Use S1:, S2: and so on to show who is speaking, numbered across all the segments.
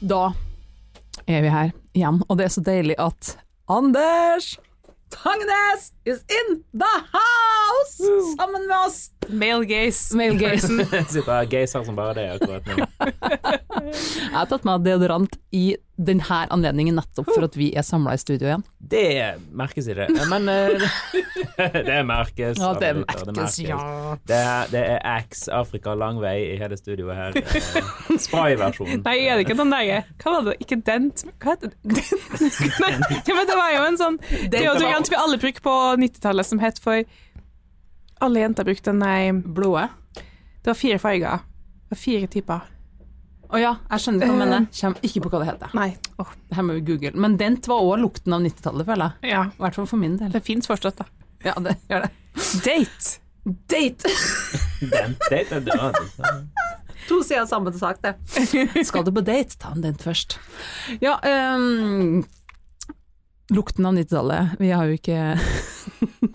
S1: Da er vi her igjen, og det er så deilig at Anders Tangnes is in the house! Sammen med oss.
S2: Male gaze.
S1: Male gaze.
S3: Jeg sitter her og geiser som bare det akkurat nå.
S1: Jeg har tatt meg deodorant i denne anledningen nettopp for at vi er samla i studio igjen.
S3: Det merkes ikke. Men eh, det merkes.
S1: Ja, det
S3: alle lytter,
S1: merkes, ja.
S3: Det er, det er X Afrika lang vei i hele studioet her. Eh, Sprayversjonen.
S2: Nei, er det ikke den derre Hva var det? Ikke dent Hva heter det? Dent? Nei, ja, men det var jo en sånn deodorant vi alle brukte på 90-tallet som het for Alle jenter brukte den nei
S1: Blodet.
S2: Det var fire farger. Det var fire typer.
S1: Å ja, jeg skjønner hva du mener. Kommer ikke på hva det heter.
S2: Nei. åh,
S1: Det her må vi google. Men dent var òg lukten av 90-tallet, føler jeg.
S2: ja.
S1: I hvert fall for min del.
S2: Det fins fortsatt, da.
S1: Ja, det gjør det.
S2: Date.
S1: Date!
S3: Den- det- det- det-
S1: To sider av samme sak, det. Skal du på date, ta en dent først. Ja, ehm, lukten av 90-tallet. Vi har jo ikke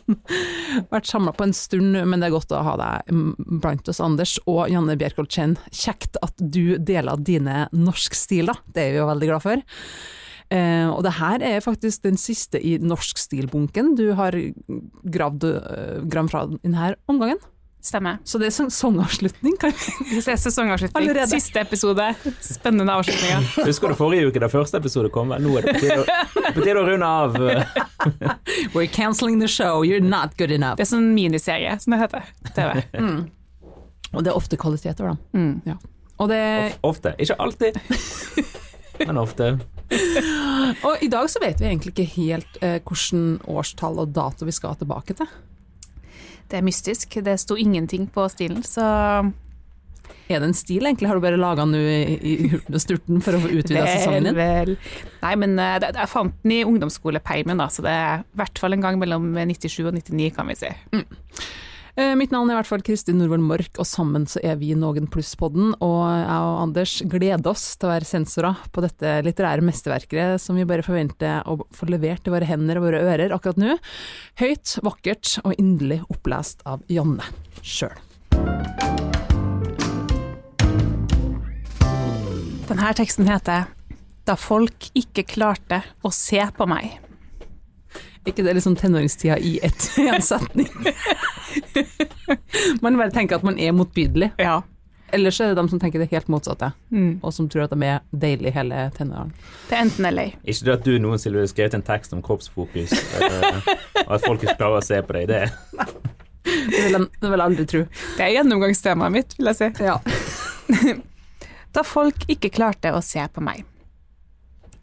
S1: vært samla på en stund, men det er godt å ha deg mm, blant oss, Anders og Janne Bjerkholt Chen. Kjekt at du deler dine norskstiler, det er vi jo veldig glad for. Eh, og det her er faktisk den siste i norkstilbunken du har gravd, eh, gravd fra denne omgangen.
S2: Stemmer.
S1: Så det er sesongavslutning, kan
S2: Hvis det er sesongavslutning.
S1: Allerede.
S2: Siste episode. Spennende avslutninger.
S3: Husker du forrige uke da første episode kom? Nå er det på tide å- på tide å runde av. eh,
S1: We're canceling the show, you're not good enough.
S2: Det er sånn miniserie, som det heter. TV.
S1: Og det er ofte kvaliteter, da.
S2: Mm.
S1: Ja. Og, det,
S3: Of- Ofte. Ikke alltid, men ofte.
S1: og i dag så vet vi egentlig ikke helt eh, hvilken årstall og dato vi skal tilbake til.
S2: Det er mystisk. Det sto ingenting på stilen, så
S1: Er det en stil, egentlig? Har du bare laga den nå i, i hurten og sturten for å få utvida sesongen din?
S2: vel. Nei, men eh, det- jeg fant den i ungdomsskolepeimen, da, så det er i hvert fall en gang mellom 97 og 99, kan vi si.
S1: Eh, mitt navn er i hvert fall Kristin Norvoll Mork, og sammen så er vi Nogen Pluss-podden. Og jeg og Anders gleder oss til å være sensorer på dette litterære mesterverket som vi bare forventer å få levert til våre hender og våre ører akkurat nå. Høyt, vakkert og inderlig opplest av Janne sjøl.
S2: Denne teksten heter Da folk ikke klarte å se på meg.
S1: ikke det liksom tenåringstida i ett i en setning? man bare tenker at man er motbydelig.
S2: Ja.
S1: Ellers er det de som tenker det helt motsatte,
S2: Mm.
S1: og som tror at de er deilige hele tenårene.
S2: Det er enten eller.
S3: Ikke det at du noensinne ville skrevet en tekst om kroppsfokus, eh, og at folk ikke klarer å se på deg. Det
S1: Det vil de det vil jeg aldri tro.
S2: Det er gjennomgangstemaet mitt, vil jeg si.
S1: Ja.
S2: Da folk ikke klarte å se på meg.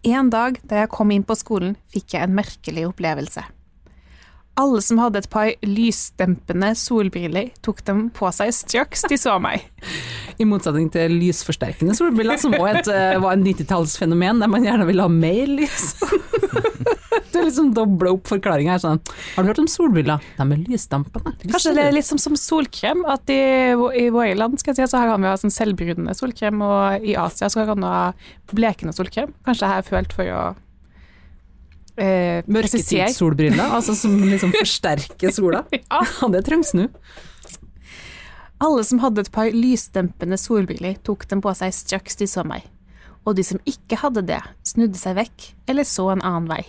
S2: En dag da jeg kom inn på skolen, fikk jeg en merkelig opplevelse. Alle som hadde et par lysdempende solbriller, tok dem på seg straks de så meg.
S1: I motsetning til lysforsterkende solbriller, som også et, eh, var en 90-tallsfenomen, der man gjerne ville ha mer lys. Du liksom dobler opp forklaringa her sånn. Har du hørt om solbriller? De er lysdampende.
S2: Kanskje det er litt som, som solkrem, at i, i våre land skal jeg si, så her kan vi ha sånn selvbrunende solkrem, og i Asia så kan man ha blekende solkrem. Kanskje det her er følt for å eh, presisere.
S1: Mørketidssolbriller, altså som liksom forsterker sola.
S2: Ja.
S1: Ja, det trengs nå.
S2: Alle som hadde et par lysdempende solbriller, tok dem på seg straks de så meg. Og de som ikke hadde det, snudde seg vekk eller så en annen vei.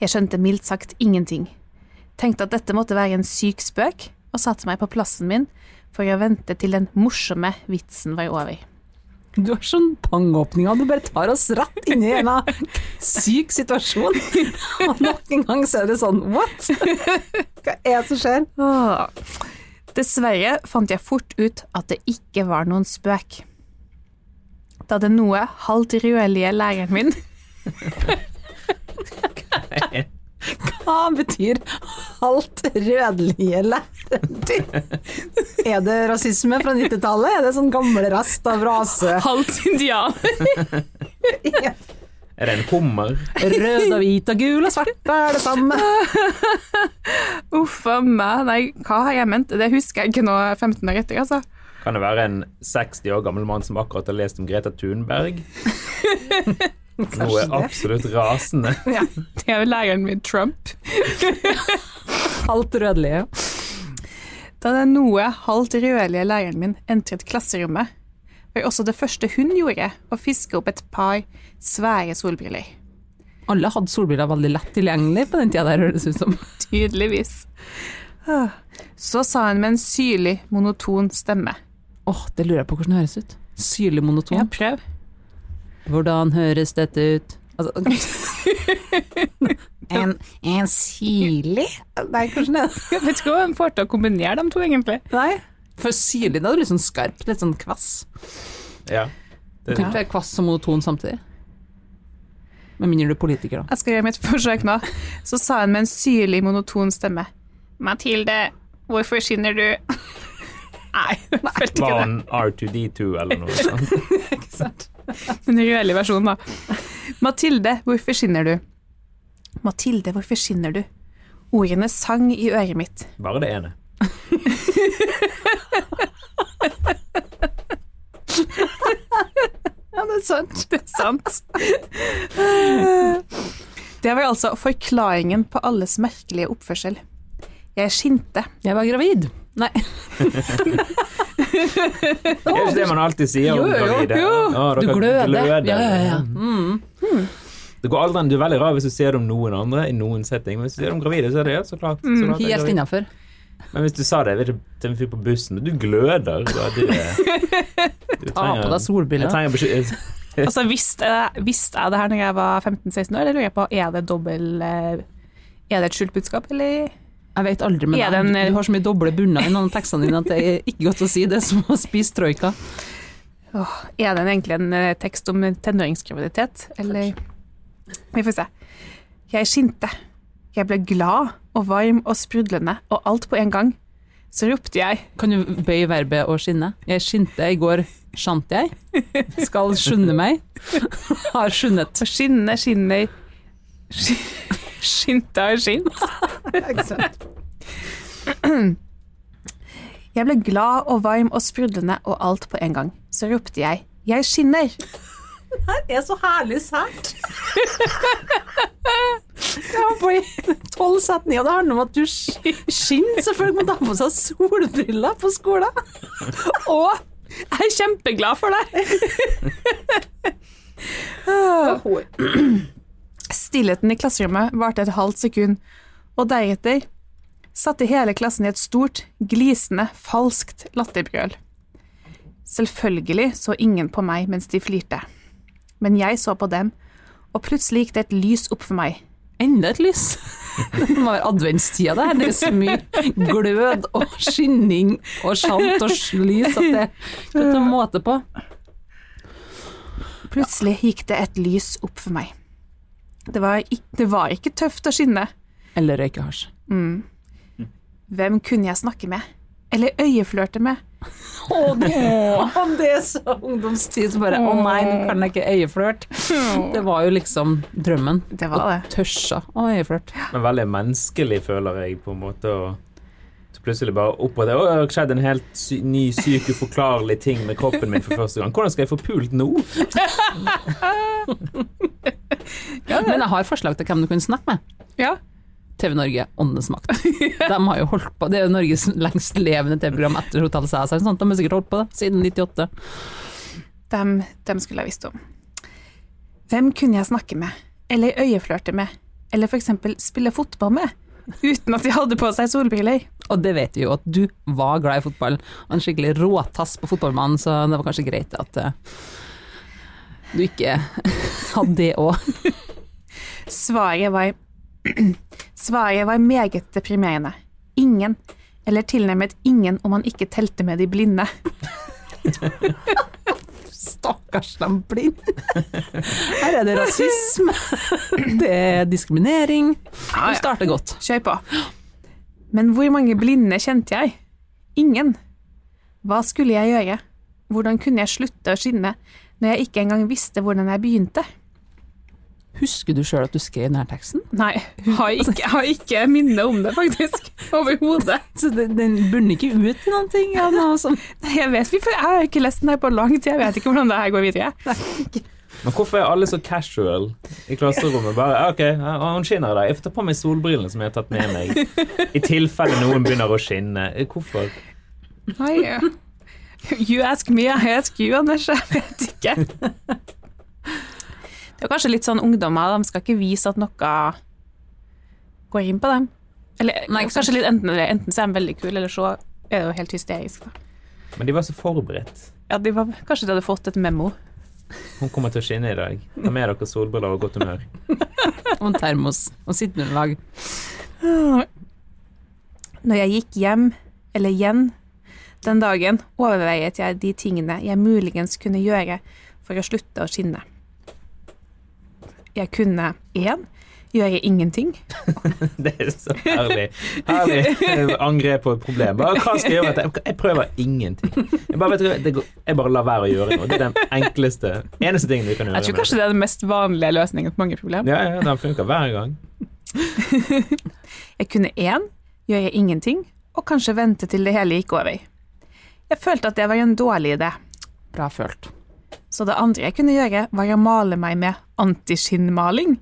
S2: Jeg skjønte mildt sagt ingenting. Tenkte at dette måtte være en syk spøk, og satte meg på plassen min for å vente til den morsomme vitsen var over.
S1: Du har sånn pangåpninger, du bare tar oss rett inn i en eller annen syk situasjon. Og nok en gang så er det sånn what? Hva er det som skjer?
S2: Åh. Dessverre fant jeg fort ut at det ikke var noen spøk. Da den noe halvt rødlige læreren min
S1: Hva betyr halvt rødlige læreren din? Er det rasisme fra 90-tallet? Er det sånn gamle rest av rase?
S2: Halvt indianer.
S3: Er det en hummer?
S1: Rød og hvit og gul og svart er det samme.
S2: Uff a meg, nei, hva har jeg ment? Det husker jeg ikke nå 15 år etter, altså.
S3: Kan det være en 60 år gammel mann som akkurat har lest om Greta Thunberg? Noe absolutt rasende.
S2: Ja, det er jo læreren min, Trump.
S1: Halvt rødlige.
S2: Da den noe halvt rødlige læreren min entret klasserommet, var også det første hun gjorde, å fiske opp et par svære solbriller.
S1: Alle hadde solbriller veldig lett tilgjengelig på den tida der, høres det ut som.
S2: Tydeligvis. Ah. Så sa hun med en syrlig, monoton stemme.
S1: Åh, det lurer jeg på hvordan det høres ut. Syrlig monoton.
S2: Ja, prøv.
S1: Hvordan høres dette ut? Altså,
S4: En, en syrlig? Nei, hvordan er det?
S2: Jeg vet ikke om hun får til å kombinere de to, egentlig.
S1: nei. For syrlig, da er det litt sånn skarpt, litt sånn kvass.
S3: Ja. Det,
S1: Kan ikke være kvass og monoton samtidig. Med mindre du er politiker, da.
S2: Jeg skal gjøre mitt forsøk nå. Så sa hun med en syrlig, monoton stemme. Mathilde, hvorfor skinner du? Nei, jeg følte ikke
S3: var
S2: det.
S3: han R2D2 eller noe sånt?
S2: Den røde versjonen, da. Mathilde, hvorfor skinner du? Mathilde, hvorfor skinner du? Ordene sang i øret mitt.
S3: Bare det ene.
S2: Ja, det er sant. Det er sant. Det var altså forklaringen på alles merkelige oppførsel. Jeg skinte.
S1: Jeg var gravid. Nei.
S3: Det er ikke det man alltid sier
S1: Jo,
S3: om
S1: jo, jo,
S3: gravide.
S1: jo.
S3: Å,
S1: Du
S3: dere
S1: gløder. Ja, ja, ja.
S3: Det går aldri, du er veldig rar hvis du ser det om noen andre i noen setting, men hvis du ser det om gravide, så er det ja, så klart. Så klart det
S1: Mm,
S3: er
S1: Helt
S3: gravid.
S1: innafor.
S3: Men hvis du sa det jeg vet ikke, til en fyr på bussen, du gløder. Da, er det, du
S1: Ta på deg
S3: Jeg
S1: solbriller.
S3: trenger beskyttelse.
S2: Altså, visste jeg, visste jeg det her når jeg var 15-16 år? Det lurer jeg på. Er det dobbel eh, Er det et skjult budskap, eller?
S1: Jeg vet aldri, men
S2: Er det en-
S1: du- du har så mye doble bunner i noen av tekstene dine at det er ikke godt å si. Det er som å spise troika.
S2: Er det egentlig en eh, tekst om tenåringsgraviditet, eller Vi får se. Jeg skinte. Jeg ble glad og varm og sprudlende, og alt på en gang. Så ropte jeg
S1: Kan du bøye verbet å skinne? Jeg skinte i går, skjant jeg. Skal skynde meg. Har skjunnet.
S2: Så skinne, skinner sk- Skinte har skint. Jeg ble glad og varm og sprudlende og alt på en gang. Så ropte jeg 'Jeg skinner'.
S1: Det er så herlig sært. Ja, på i tolv setninger. Det handler om at du sk- skinner, selvfølgelig, men ta på seg solbriller på skolen.
S2: Og jeg er kjempeglad for det. Ah. Stillheten i klasserommet varte et halvt sekund, og deretter satte hele klassen i et stort, glisende, falskt latterbrøl. Selvfølgelig så ingen på meg mens de flirte, men jeg så på dem, og plutselig gikk det et lys opp for meg.
S1: Enda et lys. Det må være adventstida, det her. Det er så mye glød og skinning og sjant og lys at det ikke er måte på.
S2: Plutselig gikk det et lys opp for meg. Det var, ik- det var ikke tøft å skinne.
S1: Eller røyke hasj.
S2: Hvem kunne jeg snakke med? Eller øyeflørte med?
S1: Å, det, å, det er så ungdomstid. Så bare å nei, nå kan jeg ikke øyeflørt. Det var jo liksom drømmen.
S2: Det var det.
S1: Tørsa å øyeflørt.
S3: Men veldig menneskelig, føler jeg, på en måte. Og så plutselig bare opp og det. Å, det har skjedd en helt sy ny, syk, uforklarlig ting med kroppen min for første gang. Hvordan skal jeg få pult nå?
S1: Men jeg har forslag til hvem du kunne snakke med.
S2: Ja.
S1: TV Norge, Åndenes makt. De har jo holdt på. Det er jo Norges lengst levende TV-program etter Hotell Cæsar. sant? De har sikkert holdt på det siden 98.
S2: Dem, dem skulle jeg visst om. Hvem kunne jeg snakke med, eller øyeflørte med, eller for eksempel spille fotball med, uten at de hadde på seg solbriller?
S1: Og det vet vi jo at du var glad i fotball. Og en skikkelig råtass på fotballmannen, så det var kanskje greit at eh, du ikke hadde det òg.
S2: Svaret var Svaret var meget deprimerende. Ingen, eller tilnærmet ingen om man ikke telte med de blinde.
S1: Stakkars, de blir Her er det rasisme, det er diskriminering. Du starter godt.
S2: Kjør på. Men hvor mange blinde kjente jeg? Ingen. Hva skulle jeg gjøre? Hvordan kunne jeg slutte å skinne når jeg ikke engang visste hvordan jeg begynte?
S1: Husker du sjøl at du skrev denne teksten?
S2: Nei, jeg har ikke, jeg har ikke minne om det, faktisk. Overhodet.
S1: Så den, den bunner ikke ut i noen ting? Ja, noe sånt.
S2: Nei, Jeg vet ikke, for jeg har ikke lest den her på lang tid. Jeg vet ikke hvordan det her går videre.
S3: Men hvorfor er alle så casual i klasserommet? Bare, «Ja, ok, ja, Hun skinner i dag. Jeg får ta på meg solbrillene som jeg har tatt med Eh, meg. I tilfelle noen begynner å skinne. Hvorfor?
S2: Nei, You ask me, I ask you, Anders. Jeg vet ikke. Det er kanskje litt sånn ungdommer, de skal ikke vise at noe går inn på dem. Eller
S1: Nei, ikke sant.
S2: kanskje litt enten, eller, enten så er de veldig kule, eller så er det jo helt hysterisk. Da.
S3: Men de var så forberedt.
S2: Ja, de var, kanskje de hadde fått et memo.
S3: Hun kommer til å skinne i dag. Ta med dere solbriller og godt humør.
S1: Og en termos og sitteunderlag.
S2: Når jeg gikk hjem, eller igjen, den dagen, overveiet jeg de tingene jeg muligens kunne gjøre for å slutte å skinne. Jeg kunne 1. Gjøre ingenting.
S3: Det er så herlig. Herlig eh, angrep på et problem. Bare, hva skal jeg gjøre? Jeg- Jeg prøver ingenting. Jeg bare, vet du, hva, det går, jeg bare lar være å gjøre noe. Det er den enkleste, eneste tingen du kan gjøre.
S2: Jeg tror
S3: med
S2: kanskje det er den mest vanlige løsningen på mange
S3: det.
S2: problemer.
S3: Ja, ja, den funker hver gang.
S2: Jeg kunne én, gjøre ingenting, og kanskje vente til det hele gikk over. Jeg følte at det var en dårlig idé,
S1: Bra følt.
S2: så det andre jeg kunne gjøre, var å male meg med antiskinnmaling.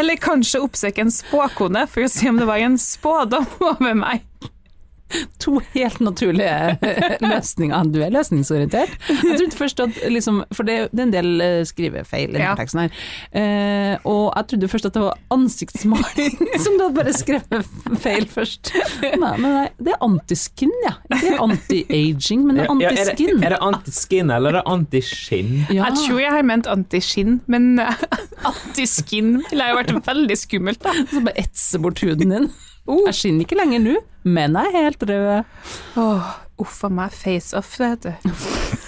S2: Eller kanskje oppsøke en spåkone for å se om det var en spådom over meg.
S1: To helt naturlige løsninger. Du er løsningsorientert. Jeg trodde først at liksom, For det, det er en del eh, skrivefeil i
S2: Ja.
S1: denne teksten her. Eh, og jeg trodde først at det var ansiktsmaling som du hadde bare skrevet feil først. Nei, men nei, det er antiskin, ja. Ikke anti-aging, men det er
S3: Ja, er, det,
S1: antiskin.
S3: er det antiskin eller er det antiskinn?
S1: Ja.
S2: Jeg tror jeg har ment antiskinn, men eh, antiskin ville jo vært veldig skummelt, da.
S1: Så bare etse bort huden din.
S2: Uh.
S1: Jeg skinner ikke lenger nå, men jeg er helt rød.
S2: Åh, uff a meg, face-off, det heter.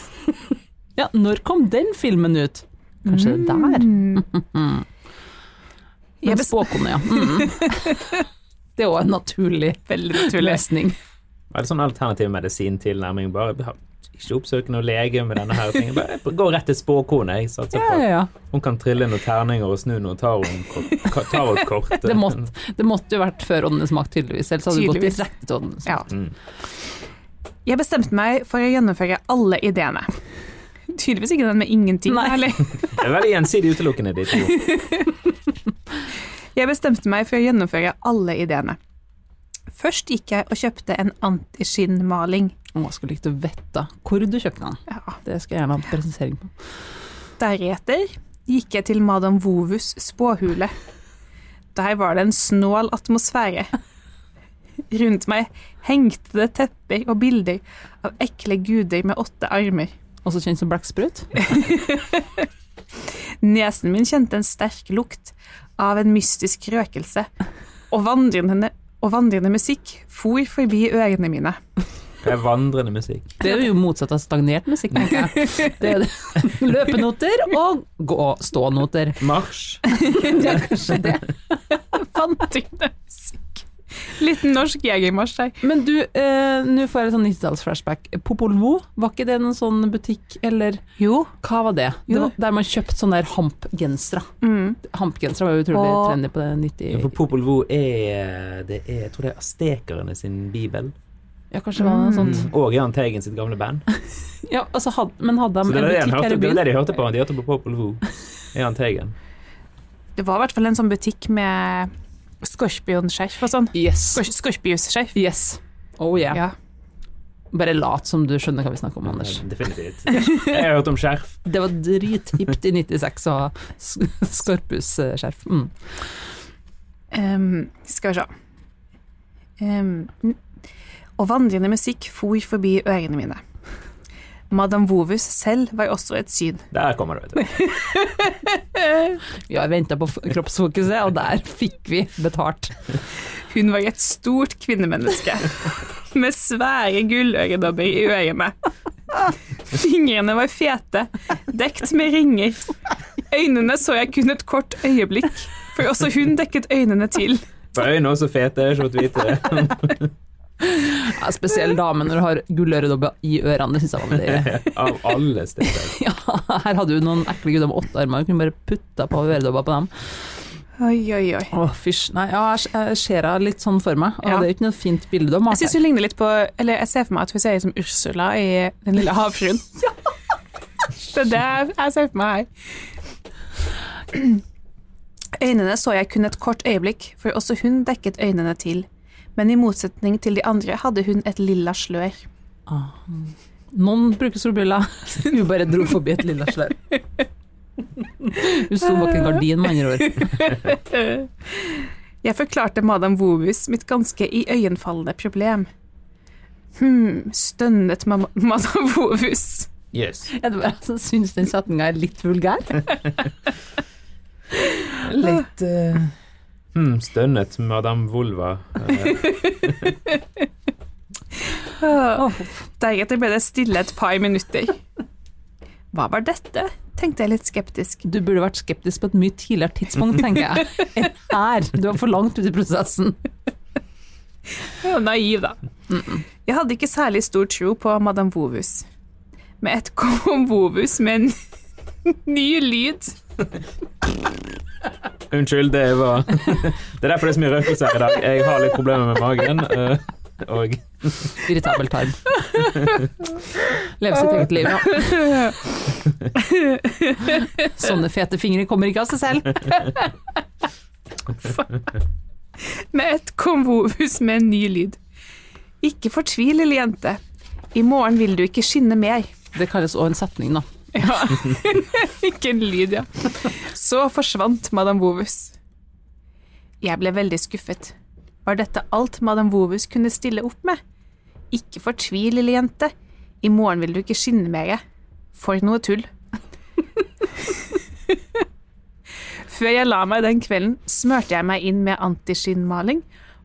S1: Ja, når kom den filmen ut? Kanskje det der?
S2: Jeg
S1: Men
S2: bes-
S1: spåkone, ja. Mm. Det er òg en naturlig
S2: Veldig naturlig.
S1: løsning.
S3: Er det sånn alternativ medisin-tilnærming? Bare bare ikke oppsøke noen lege med denne her tingen. Bare gå rett til spåkone. Jeg satser
S1: Ja,
S3: på
S1: ja, ja.
S3: at hun kan trille noen terninger og snu noen tarotkort. tarotkort.
S1: Det måtte, det måtte jo vært før Åndenes makt, tydeligvis. Ellers hadde du gått
S2: Tydeligvis.
S1: direkte til Åndenes
S2: Ja.
S1: makt.
S3: Mm.
S2: Jeg bestemte meg for å gjennomføre alle ideene. Tydeligvis ikke den med ingenting.
S1: Nei.
S2: eller?
S3: Det er veldig gjensidig utelukkende, de to.
S2: Jeg bestemte meg for å gjennomføre alle ideene. Først gikk jeg og kjøpte en antiskinnmaling.
S1: Å, jeg skulle likt å vite hvor du kjøpte den.
S2: Ja.
S1: Det skal jeg gjerne ha en presentering på.
S2: Deretter gikk jeg til Madame Vovus spåhule. Der var det en snål atmosfære. Rundt meg hengte det tepper og bilder av ekle guder med åtte armer.
S1: Også kjent som blekksprut.
S2: Nesen min kjente en sterk lukt av en mystisk røkelse, og vandrende, og vandrende musikk for forbi ørene mine.
S3: Det er vandrende musikk.
S1: Det er jo motsatt av stagnert musikk, tenker jeg. Det er det. Løpenoter og gå-stå-noter.
S3: Marsj.
S1: Det er kanskje det.
S2: Vandrende musikk. Liten norsk jegermarsj der.
S1: Men du, eh, nå får jeg litt sånn 90-tallsflashback. Popol Vuh, var ikke det en sånn butikk, eller
S2: Jo.
S1: hva var det? det
S2: Jo.
S1: var der man kjøpte sånne der hamp-gensere.
S2: Mm.
S1: Hamp-gensere var jo utrolig
S2: Og-
S1: trendy på det 90...
S3: For Popol Vuh er, det er Jeg tror det er astekerne sin bibel.
S1: Ja, kanskje det var noe sånt.
S2: Mm.
S3: Og Jahn Teigen sitt gamle band.
S1: Ja, altså, had, men hadde
S3: Så
S1: de
S3: det
S1: en
S3: var det, han
S1: butikk her
S3: hørte,
S1: i
S3: det, var
S1: byen?
S3: det de hørte på. De hørte på Popol Vuh. Jahn Teigen.
S2: Det var i hvert fall en sånn butikk med skorpionskjerf og sånn.
S1: Yes.
S2: Skor Skorpiusskjerf.
S1: yes. Oh yeah.
S2: Ja.
S1: Bare lat som du skjønner hva vi snakker om, Anders.
S3: Definitivt. Jeg har hørt om skjerf.
S1: Det var drithipt i 96 å ha sk- skorpusskjerf. Mm.
S2: Ehm, skal vi se. Ehm, n- og vandrende musikk for forbi ørene mine. Madame Vovus selv var også et syn.
S3: Der kommer det, vet du.
S1: Vi har venta på f- kroppsfokuset, og der fikk vi betalt.
S2: Hun var et stort kvinnemenneske med svære gulløredobber i ørene. Fingrene var fete, dekt med ringer. Øynene så jeg kun et kort øyeblikk, for også hun dekket øynene til.
S3: For øynene er også fete, jeg har ikke fått vite det.
S1: Ja, spesiell dame når du har gulløredobber i ørene, det syns jeg var veldig
S3: Av alle steder.
S1: Ja, her hadde du noen ekle gutter med åtte armer, du kunne bare putta på øredobber på dem.
S2: Oi, oi, oi.
S1: Å, fysj. Nei, ja, jeg ser- jeg ser henne litt sånn for meg, og
S2: Ja.
S1: det er jo ikke noe fint bilde du har
S2: Jeg
S1: malt
S2: synes
S1: her.
S2: hun ligner litt på Eller jeg ser for meg at hun ser ut som Ursula i Den lille havfruen. Det er det jeg ser for meg her. Øynene så jeg kun et kort øyeblikk, for også hun dekket øynene til. Men i motsetning til de andre hadde hun et lilla slør.
S1: Ah, Noen bruker solbriller. Hun bare dro forbi et lilla slør. Hun sto bak en gardin, med andre ord.
S2: Jeg forklarte Madam Wobus mitt ganske iøynefallende problem. Hm, stønnet ma Madam Wobus.
S3: Yes.
S1: Jeg syns den setninga er litt vulgær.
S3: Litt hmm, Stønnet madam Vulva. Eh,
S2: Deretter ble det stille et par minutter. Hva var dette? tenkte jeg litt skeptisk.
S1: Du burde vært skeptisk på et mye tidligere tidspunkt, tenker jeg. Enn her. Du er for langt ute i prosessen.
S2: Jeg var naiv, da. Jeg hadde ikke særlig stor tro på Madam Wovus. Med ett kom Wovus med en ny lyd.
S3: Unnskyld, det var Det er derfor det er så mye røkelse her i dag. Jeg har litt problemer med magen. eh, og
S1: Irritabel tarm. Leve sitt eget liv, ja. Sånne fete fingre kommer ikke av seg selv.
S2: Med ett kom Wovus med en ny lyd. Ikke fortvil, lille jente. I morgen vil du ikke skinne mer.
S1: Det kalles òg en setning, da.
S2: Ja. Ikke en lyd, ja. Så forsvant Madam Wovus. Jeg ble veldig skuffet. Var dette alt Madam Wovus kunne stille opp med? Ikke fortvil, lille jente. I morgen vil du ikke skinne mer. For noe tull. Før jeg la meg den kvelden, smørte jeg meg inn med antiskinnmaling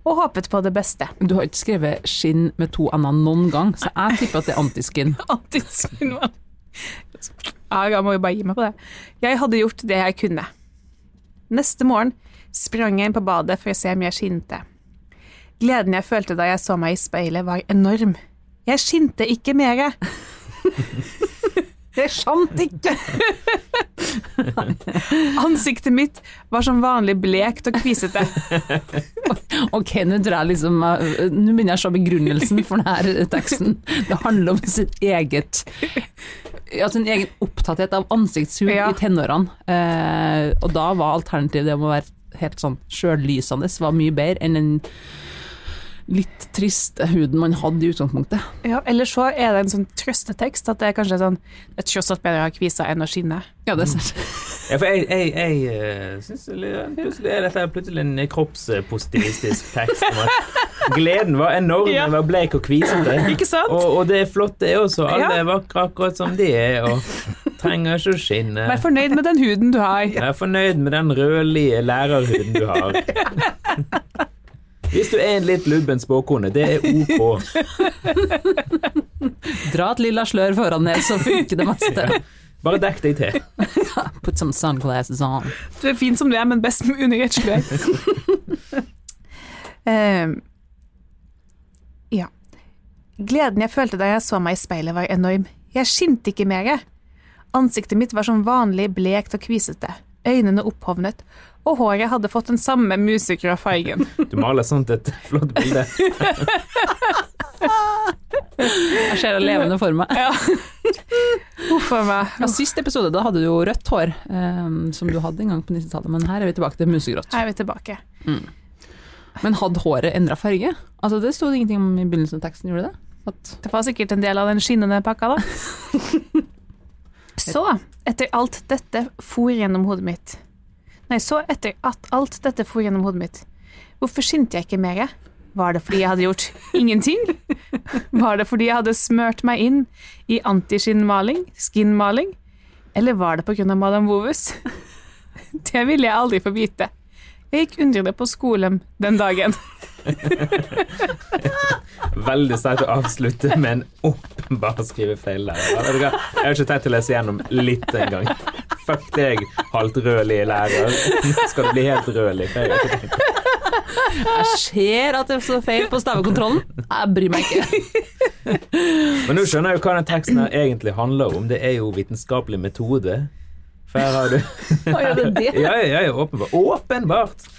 S2: og håpet på det beste.
S1: Du har ikke skrevet 'skinn' med to n-er noen gang, så jeg tipper at det er antiskin.
S2: Antiskinnmaling. Ja, jeg må jo bare gi meg på det. Jeg hadde gjort det jeg kunne. Neste morgen sprang jeg inn på badet for å se om jeg skinte. Gleden jeg følte da jeg så meg i speilet, var enorm. Jeg skinte ikke mere.
S1: Det er sant ikke!
S2: Ansiktet mitt var som vanlig blekt og kvisete.
S1: Ok, nå tror jeg liksom eh, Nå begynner jeg å se begrunnelsen for denne teksten. Det handler om sitt eget Ja, sin egen opptatthet av ansiktshud
S2: Ja.
S1: i tenårene. Eh, og da var alternativet det om å være helt sånn sjøllysende, var mye bedre enn den litt triste huden man hadde i utgangspunktet.
S2: Ja, eller så er det en sånn trøstetekst at det er kanskje sånn Det er tross alt bedre å ha kvisa enn å skinne.
S1: Ja, det er sant.
S3: Ja, for jeg, jeg, jeg eh, synes det er litt- plutselig er dette plutselig en kroppspositivistisk tekst. Om at gleden var enorm,
S2: Ja.
S3: jeg var bleik og kvisete.
S2: Ikke sant?
S3: Og, og det er flott, det er også. Alle
S2: Ja.
S3: er vakre akkurat som de er, og trenger ikke å skinne.
S2: Vær fornøyd med den huden du har.
S3: Jeg er fornøyd med den rødlige lærerhuden du har. Hvis du er en litt lubben spåkone, det er ok.
S1: Dra et lilla slør foran ned, så funker det meste.
S3: Bare dekk deg til.
S1: Put some sunglasses on.
S2: Du er fin som du er, men best med under et slør. Ehm, ja. Gleden jeg følte da jeg så meg i speilet, var enorm. Jeg skinte ikke mer. Ansiktet mitt var som vanlig blekt og kvisete, øynene opphovnet, og håret hadde fått den samme musegrå fargen.
S3: Du maler sånt et flott bilde.
S1: Jeg ser det levende for meg.
S2: Huff a meg.
S1: Ja, sist episode da hadde du jo rødt hår, eh, som du hadde en gang på 90-tallet, men her er vi tilbake til musegrått.
S2: Her er vi tilbake.
S1: Men hadde håret endra farge? Altså Det sto det ingenting om i begynnelsen av teksten, gjorde det? At
S2: Det var sikkert en del av den skinnende pakka, da. Så, etter alt dette for gjennom hodet mitt Nei, så etter at alt dette for gjennom hodet mitt Hvorfor skinte jeg ikke mer? Var det fordi jeg hadde gjort ingenting? Var det fordi jeg hadde smørt meg inn i antiskinnmaling, skinmaling? Eller var det på grunn av Madam Wovus? Det ville jeg aldri få vite. Jeg gikk undrende på skolen den dagen.
S3: Veldig sterkt å avslutte med en åpenbar skrivefeil der. Vet du hva? Jeg har ikke tenkt å lese gjennom litt engang. Fuck deg, halvt rødlig lærer. Nå skal du bli helt rødlig. Jeg har ikke tenkt.
S1: jeg ser at jeg så feil på stavekontrollen. Jeg bryr meg ikke.
S3: Men nå skjønner jeg jo hva den teksten her egentlig handler om. Det er jo vitenskapelig metode. For her har du
S1: Å, gjør det det?
S3: Ja, ja, ja, åpenbart. åpenbart.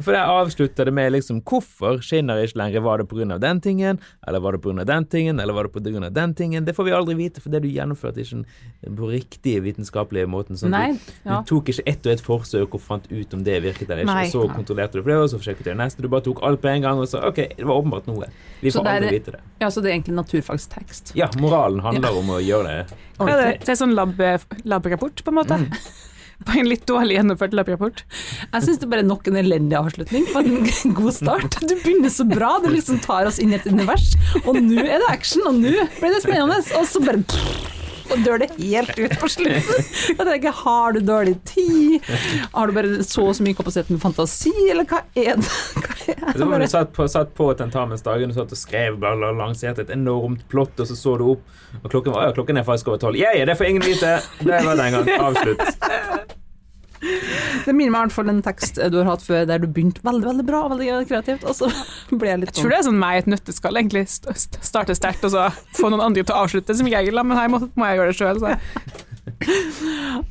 S3: For der avslutter det med liksom hvorfor skinner ikke lenger. Var det pga. den tingen, eller var det pga. den tingen, eller var det pga. den tingen? Det får vi aldri vite, for det du gjennomførte ikke den- på riktig vitenskapelige måten. Sånn at
S1: Nei.
S3: du,
S1: Ja.
S3: du tok ikke ett og ett forsøk og fant ut om det virket eller ikke.
S2: Nei.
S3: Og så kontrollerte du for det, og så forsøkte du det neste. Du bare tok alt på en gang og sa OK, det var åpenbart noe. Vi
S1: Så
S3: får
S1: det er-
S3: aldri vite det.
S1: ja, så det er egentlig naturfagstekst.
S3: Ja, moralen handler om å gjøre det.
S2: Ja, det, det er sånn lab, labrapport, på en måte. På en litt dårlig gjennomført labrapport.
S1: Jeg syns det bare er nok en elendig avslutning på en god start. Du begynner så bra, du liksom tar oss inn i et univers, og nå er det action, og nå blir det spennende, og så bare og dør det helt ut på slutten. Jeg tenker, har du dårlig tid? Har du bare så og så mye kapasitet med fantasi, eller hva er det? Hva er det?
S3: Så var du satt på, satt på tentamensdagen og satt og skrev bare la- lanserte et enormt plott, og så så du opp, og klokken, var, «Å ja, klokken er faktisk over tolv. Ja, ja, det får ingen vite! Det var den gang. Avslutt.
S1: Det minner meg i hvert fall en tekst du har hatt før, der du begynte veldig, veldig bra, veldig kreativt, og så ble jeg litt
S2: Jeg tror det er sånn meg i et nøtteskall, egentlig. St- st- Starte sterkt, og så få noen andre til å avslutte som regel, da, men her må, må jeg gjøre det sjøl.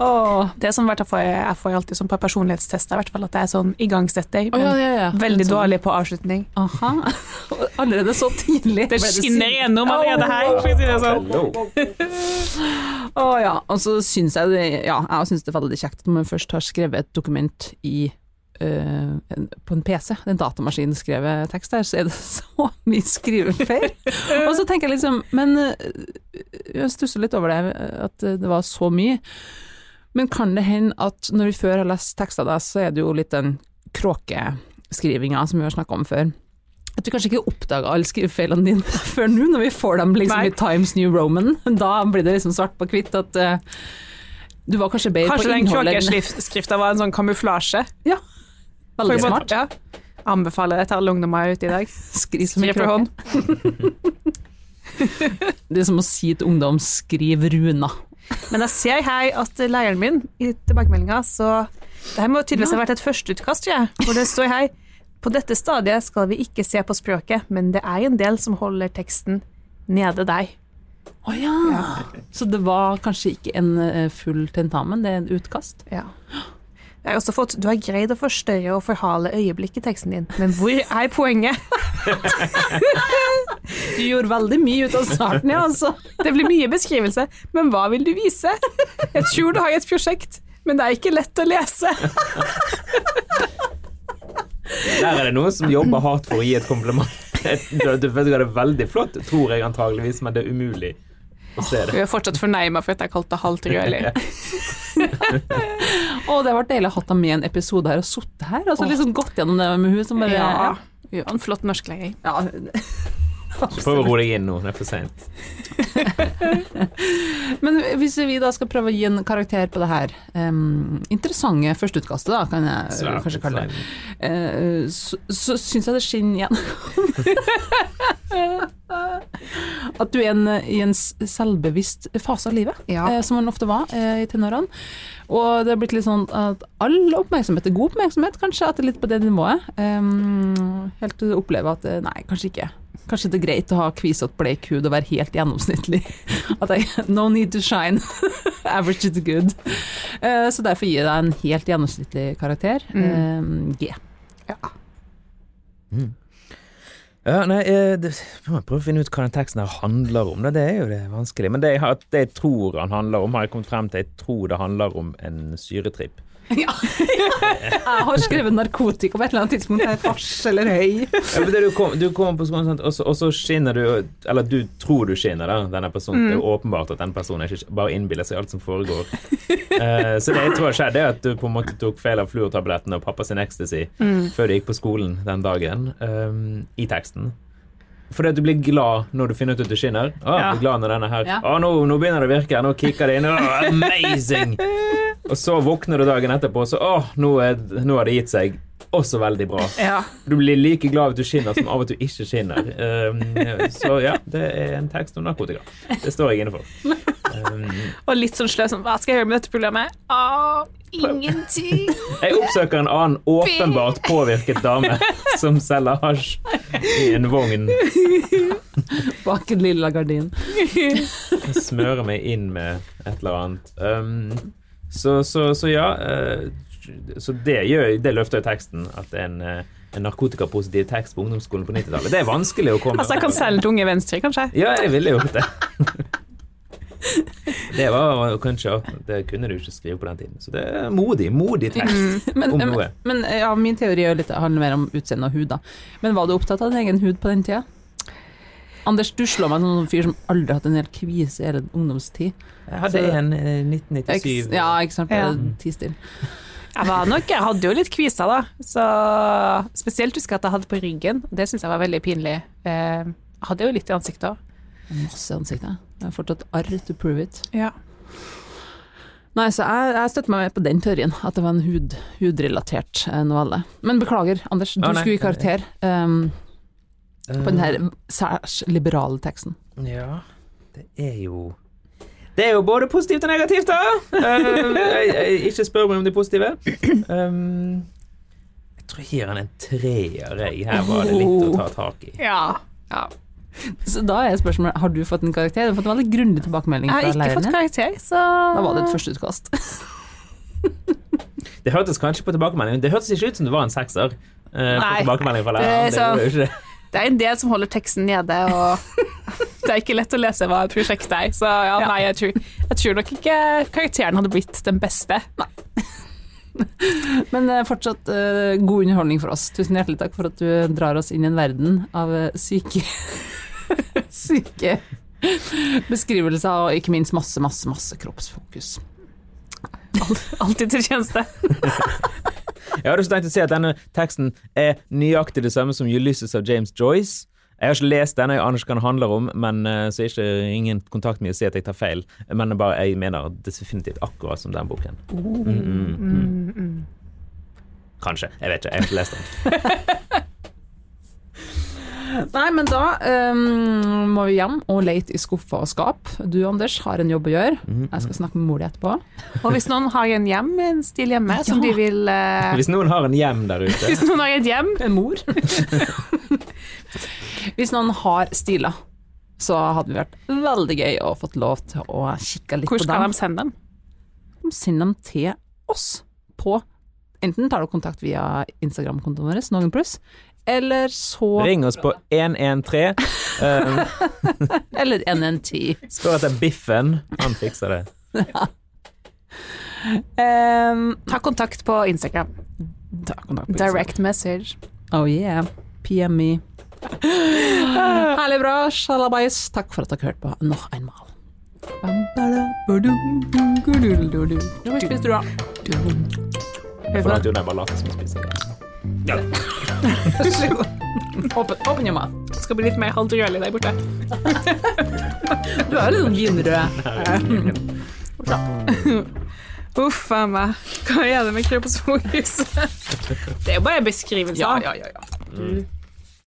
S1: Åh,
S2: Det er sånn, i hvert fall får jeg, jeg får jo alltid sånn på personlighetstester, i hvert fall at jeg er sånn igangsetter, men
S1: ja, ja, ja.
S2: veldig
S1: Sånn-
S2: dårlig på avslutning.
S1: Aha. Allerede så tidlig.
S2: Det skinner gjennom allerede her, for å si det sånn.
S3: Hello.
S1: Å ja. Og så syns jeg det Ja, jeg syns det er veldig kjekt at man først har skrevet et dokument i eh, en, på en PC, en datamaskin skrevet tekst der, så er det så mye skrivefeil. Og så tenker jeg liksom Men eh, jeg stusser litt over det, eh, at eh, det var så mye. Men kan det hende at når vi før har lest tekster av deg, så er det jo litt den kråkeskrivinga som vi har snakka om før. At du kanskje ikke oppdaga alle skrivefeilene dine før nå, når vi får dem liksom
S2: Nei.
S1: i Times New Roman. Da blir det liksom svart på hvitt at eh, du var kanskje bedre
S2: Kanskje
S1: på
S2: den
S1: innholdet. enn-
S2: kråkeskrifta var en sånn kamuflasje.
S1: Veldig
S2: Får jeg bare-
S1: smart.
S2: Ja. Anbefaler det til alle ungdommer ute i dag.
S1: Skriv som en
S2: Skriv for
S1: kråke.
S2: hånd.
S1: Det er som å si til ungdom 'skriv Runa'.
S2: Men jeg ser her at læreren min i tilbakemeldinga, så det her må tydeligvis ha vært et førsteutkast, tror jeg. For det står her på dette stadiet skal vi ikke se på språket, men det er en del som holder teksten nede der.
S1: Å ja. Så det var kanskje ikke en eh, full tentamen, det er en utkast?
S2: Ja. Jeg har også fått Du har greid å forstørre og forhale øyeblikk i teksten din, men hvor er poenget?
S1: Du gjorde veldig mye ut av starten, ja, altså.
S2: Det blir mye beskrivelse, men hva vil du vise? Jeg tror du har et prosjekt, men det er ikke lett å lese.
S3: Der er det noen som jobber hardt for å gi et kompliment. Et- Du, du vet hva, det er veldig flott, tror jeg antageligvis, men det er umulig å se det.
S2: Hun er fortsatt fornærma for at jeg kalte det halvt rødlig.
S1: Å, det har vært deilig å ha hatt deg med i en episode her og sittet her. Altså
S2: Åh.
S1: liksom gått gjennom det med hun som bare
S2: Ja. Hun var en flott norsklærer.
S1: ja.
S3: Prøv å roe deg inn nå, det er for seint.
S1: Men hvis vi da skal prøve å gi en karakter på det her em, interessante førsteutkastet, da, kan jeg eh, kanskje kalle det, eh, så, så syns jeg det skinner igjen. At du er en, i en s- selvbevisst fase av livet, eh, som man ofte var eh, i tenårene. Og det har blitt litt sånn at all oppmerksomhet er god oppmerksomhet, kanskje. At det er litt på det nivået. Em, helt til du opplever at eh, nei, kanskje ikke. Kanskje det er greit å ha kvisete bleik hud og være helt gjennomsnittlig. At jeg, no need to shine. Average is good. Eh, så derfor gir jeg deg en helt gjennomsnittlig karakter. eh, G.
S3: Ja, nei, eh, det, jeg må prøve å finne ut hva den teksten her handler om. da. Det er jo det vanskelig. Men det jeg, har- det jeg tror han handler om, har jeg kommet frem til. Jeg tror det handler om en syretripp.
S1: Jeg har skrevet narkotika på et eller annet tidspunkt. Det er hasj eller høy.
S3: Ja, for det du, kom, du kommer på skolen, sant? Og, så, og så skinner du Eller du tror du skinner, da, denne personen. Det er jo åpenbart at den personen ikke bare innbiller seg alt som foregår. Eh, så det jeg tror skjedde, er at du på en måte tok feil av fluortabletten og pappa sin ecstasy før du gikk på skolen den dagen, eh, i teksten. Fordi at du blir glad når du finner ut at du skinner. Å,
S2: Ja.
S3: jeg blir glad når denne her
S1: Ja.
S3: Å, nå, nå begynner det å virke. Nå kicker det inn. Å, amazing! Og så våkner du dagen etterpå, og så Å, nå, er, nå har det gitt seg. Også veldig bra.
S2: Ja.
S3: Du blir like glad av at du skinner som av at du ikke skinner. Um, så ja, det er en tekst om narkotika. Det står jeg inne for. Um,
S2: Og litt sånn sløs sånn, Hva skal jeg gjøre med dette programmet? Å, ingenting.
S3: jeg oppsøker en annen åpenbart påvirket dame som selger hasj i en vogn.
S1: Bak den lilla gardinen.
S3: Jeg smører meg inn med et eller annet. Um, så, så, så ja, eh, Så det, gjør, det løfter jo teksten. At en, eh, en narkotikapositiv tekst på ungdomsskolen på 90-tallet Det er vanskelig å komme
S2: Altså, jeg kan selge til unge venstre, kanskje.
S3: Ja, jeg ville gjort det. Det var kanskje Det kunne du ikke skrive på den tiden. Så det er modig. Modig tekst.
S1: Mm. Men, eh,
S3: Om
S1: men,
S3: noe.
S1: men ja, min teori er jo litt, handler mer om utseende og hud, da. Men var du opptatt av din egen hud på den tida? Anders, du slår meg som en fyr som aldri har hatt en hel kvise i hele ungdomstid.
S3: Jeg hadde
S1: Så-
S3: en eh,
S1: Eks-
S3: 1997.
S1: ja, ikke sant. Eh,
S2: Ja.
S1: Ti still.
S2: Jeg var nok, jeg hadde jo litt kviser da, så spesielt husker jeg at jeg hadde på ryggen, og det synes jeg var veldig pinlig. Eh, Jeg hadde jo litt i ansiktet også.
S1: Masse i ansiktet. Jeg har fortsatt arr to prove it.
S2: Ja.
S1: Nei, så jeg, jeg støtter meg på den teorien, at det var en hud, hudrelatert eh, novelle. Men beklager, Anders, du
S3: Å, nei.
S1: skulle i karakter ehm,
S3: Eh,
S1: på den her særs liberale teksten.
S3: Ja, det er jo Det er jo både positivt og negativt, da! Eh, jeg, jeg, ikke spør meg om det positive. Um, jeg tror jeg gir han en treer. jeg. Her var det litt å ta tak i.
S2: Ja.
S1: Så da er spørsmålet, har du fått en karakter? Du har fått en veldig grundig tilbakemelding
S2: Jeg har
S1: fra
S2: ikke
S1: læreren
S2: fått
S1: din.
S2: karakter, så...
S1: Da var det et førsteutkast.
S3: Det hørtes kanskje på tilbakemeldingen Det hørtes ikke ut som det var en sekser. eh, på
S2: Nei,
S3: tilbakemeldingen fra læreren.
S2: det er
S3: Det var jo
S2: så-
S3: ikke det.
S2: Det er en del som holder teksten nede, og det er ikke lett å lese hva et prosjekt er. Så ja, nei, jeg tror, jeg tror nok ikke karakteren hadde blitt den beste.
S1: Men eh, fortsatt eh, god underholdning for oss. Tusen hjertelig takk for at du drar oss inn i en verden av eh, syke Syke beskrivelser, og ikke minst masse, masse, masse kroppsfokus.
S2: Alltid til tjeneste.
S3: Jeg hadde også tenkt å si at denne teksten er nøyaktig det samme som Ulysses av James Joyce. Jeg har ikke lest den, jeg aner ikke hva den handler om, men eh, så er ikke ingen kontakt med å si at jeg tar feil. Men bare jeg mener definitivt akkurat som den boken. Mm, mm, mm. Kanskje. Jeg vet ikke. Jeg har ikke lest den.
S1: Nei, men da ehm, må vi hjem og leite i skuffer og skap. Du, Anders, har en jobb å gjøre.
S2: Mhm,
S1: Jeg skal snakke med mor di etterpå.
S2: Og hvis noen har en hjem, en stil hjemme, som de
S1: Ja.
S2: vil eh,
S3: Hvis noen har en hjem der ute
S2: Hvis noen har et hjem
S1: En mor? Hvis noen har stiler, så hadde det vært veldig gøy å fått lov til å kikke litt
S2: Hvor
S1: på dem.
S2: skal de sende dem?
S1: send dem til oss på Enten tar du kontakt via Instagram-kontoen vår, Noen pluss, eller så
S3: Ring oss på 113. eh,
S1: Eller NNT.
S3: spør etter Biffen. Han fikser det.
S1: Um,
S2: Ta kontakt på Instagram.
S1: ta kontakt på Instagram.
S2: Direct message.
S1: Oh yeah. PME. Herlig bra, sjalabais. Takk for at dere hørte på nok en mal. Nå må vi spise drua.
S3: For at Jon er bare later som han spiser.
S1: Åpen åpen your mouth.
S2: Det skal bli litt mer halvt rødlig der borte.
S1: Du er jo litt sånn vinrød.
S2: Uff a meg. Hva er det med kroppsfokus? det er jo bare beskrivelser.
S1: Ja, ja, ja, ja.
S2: Du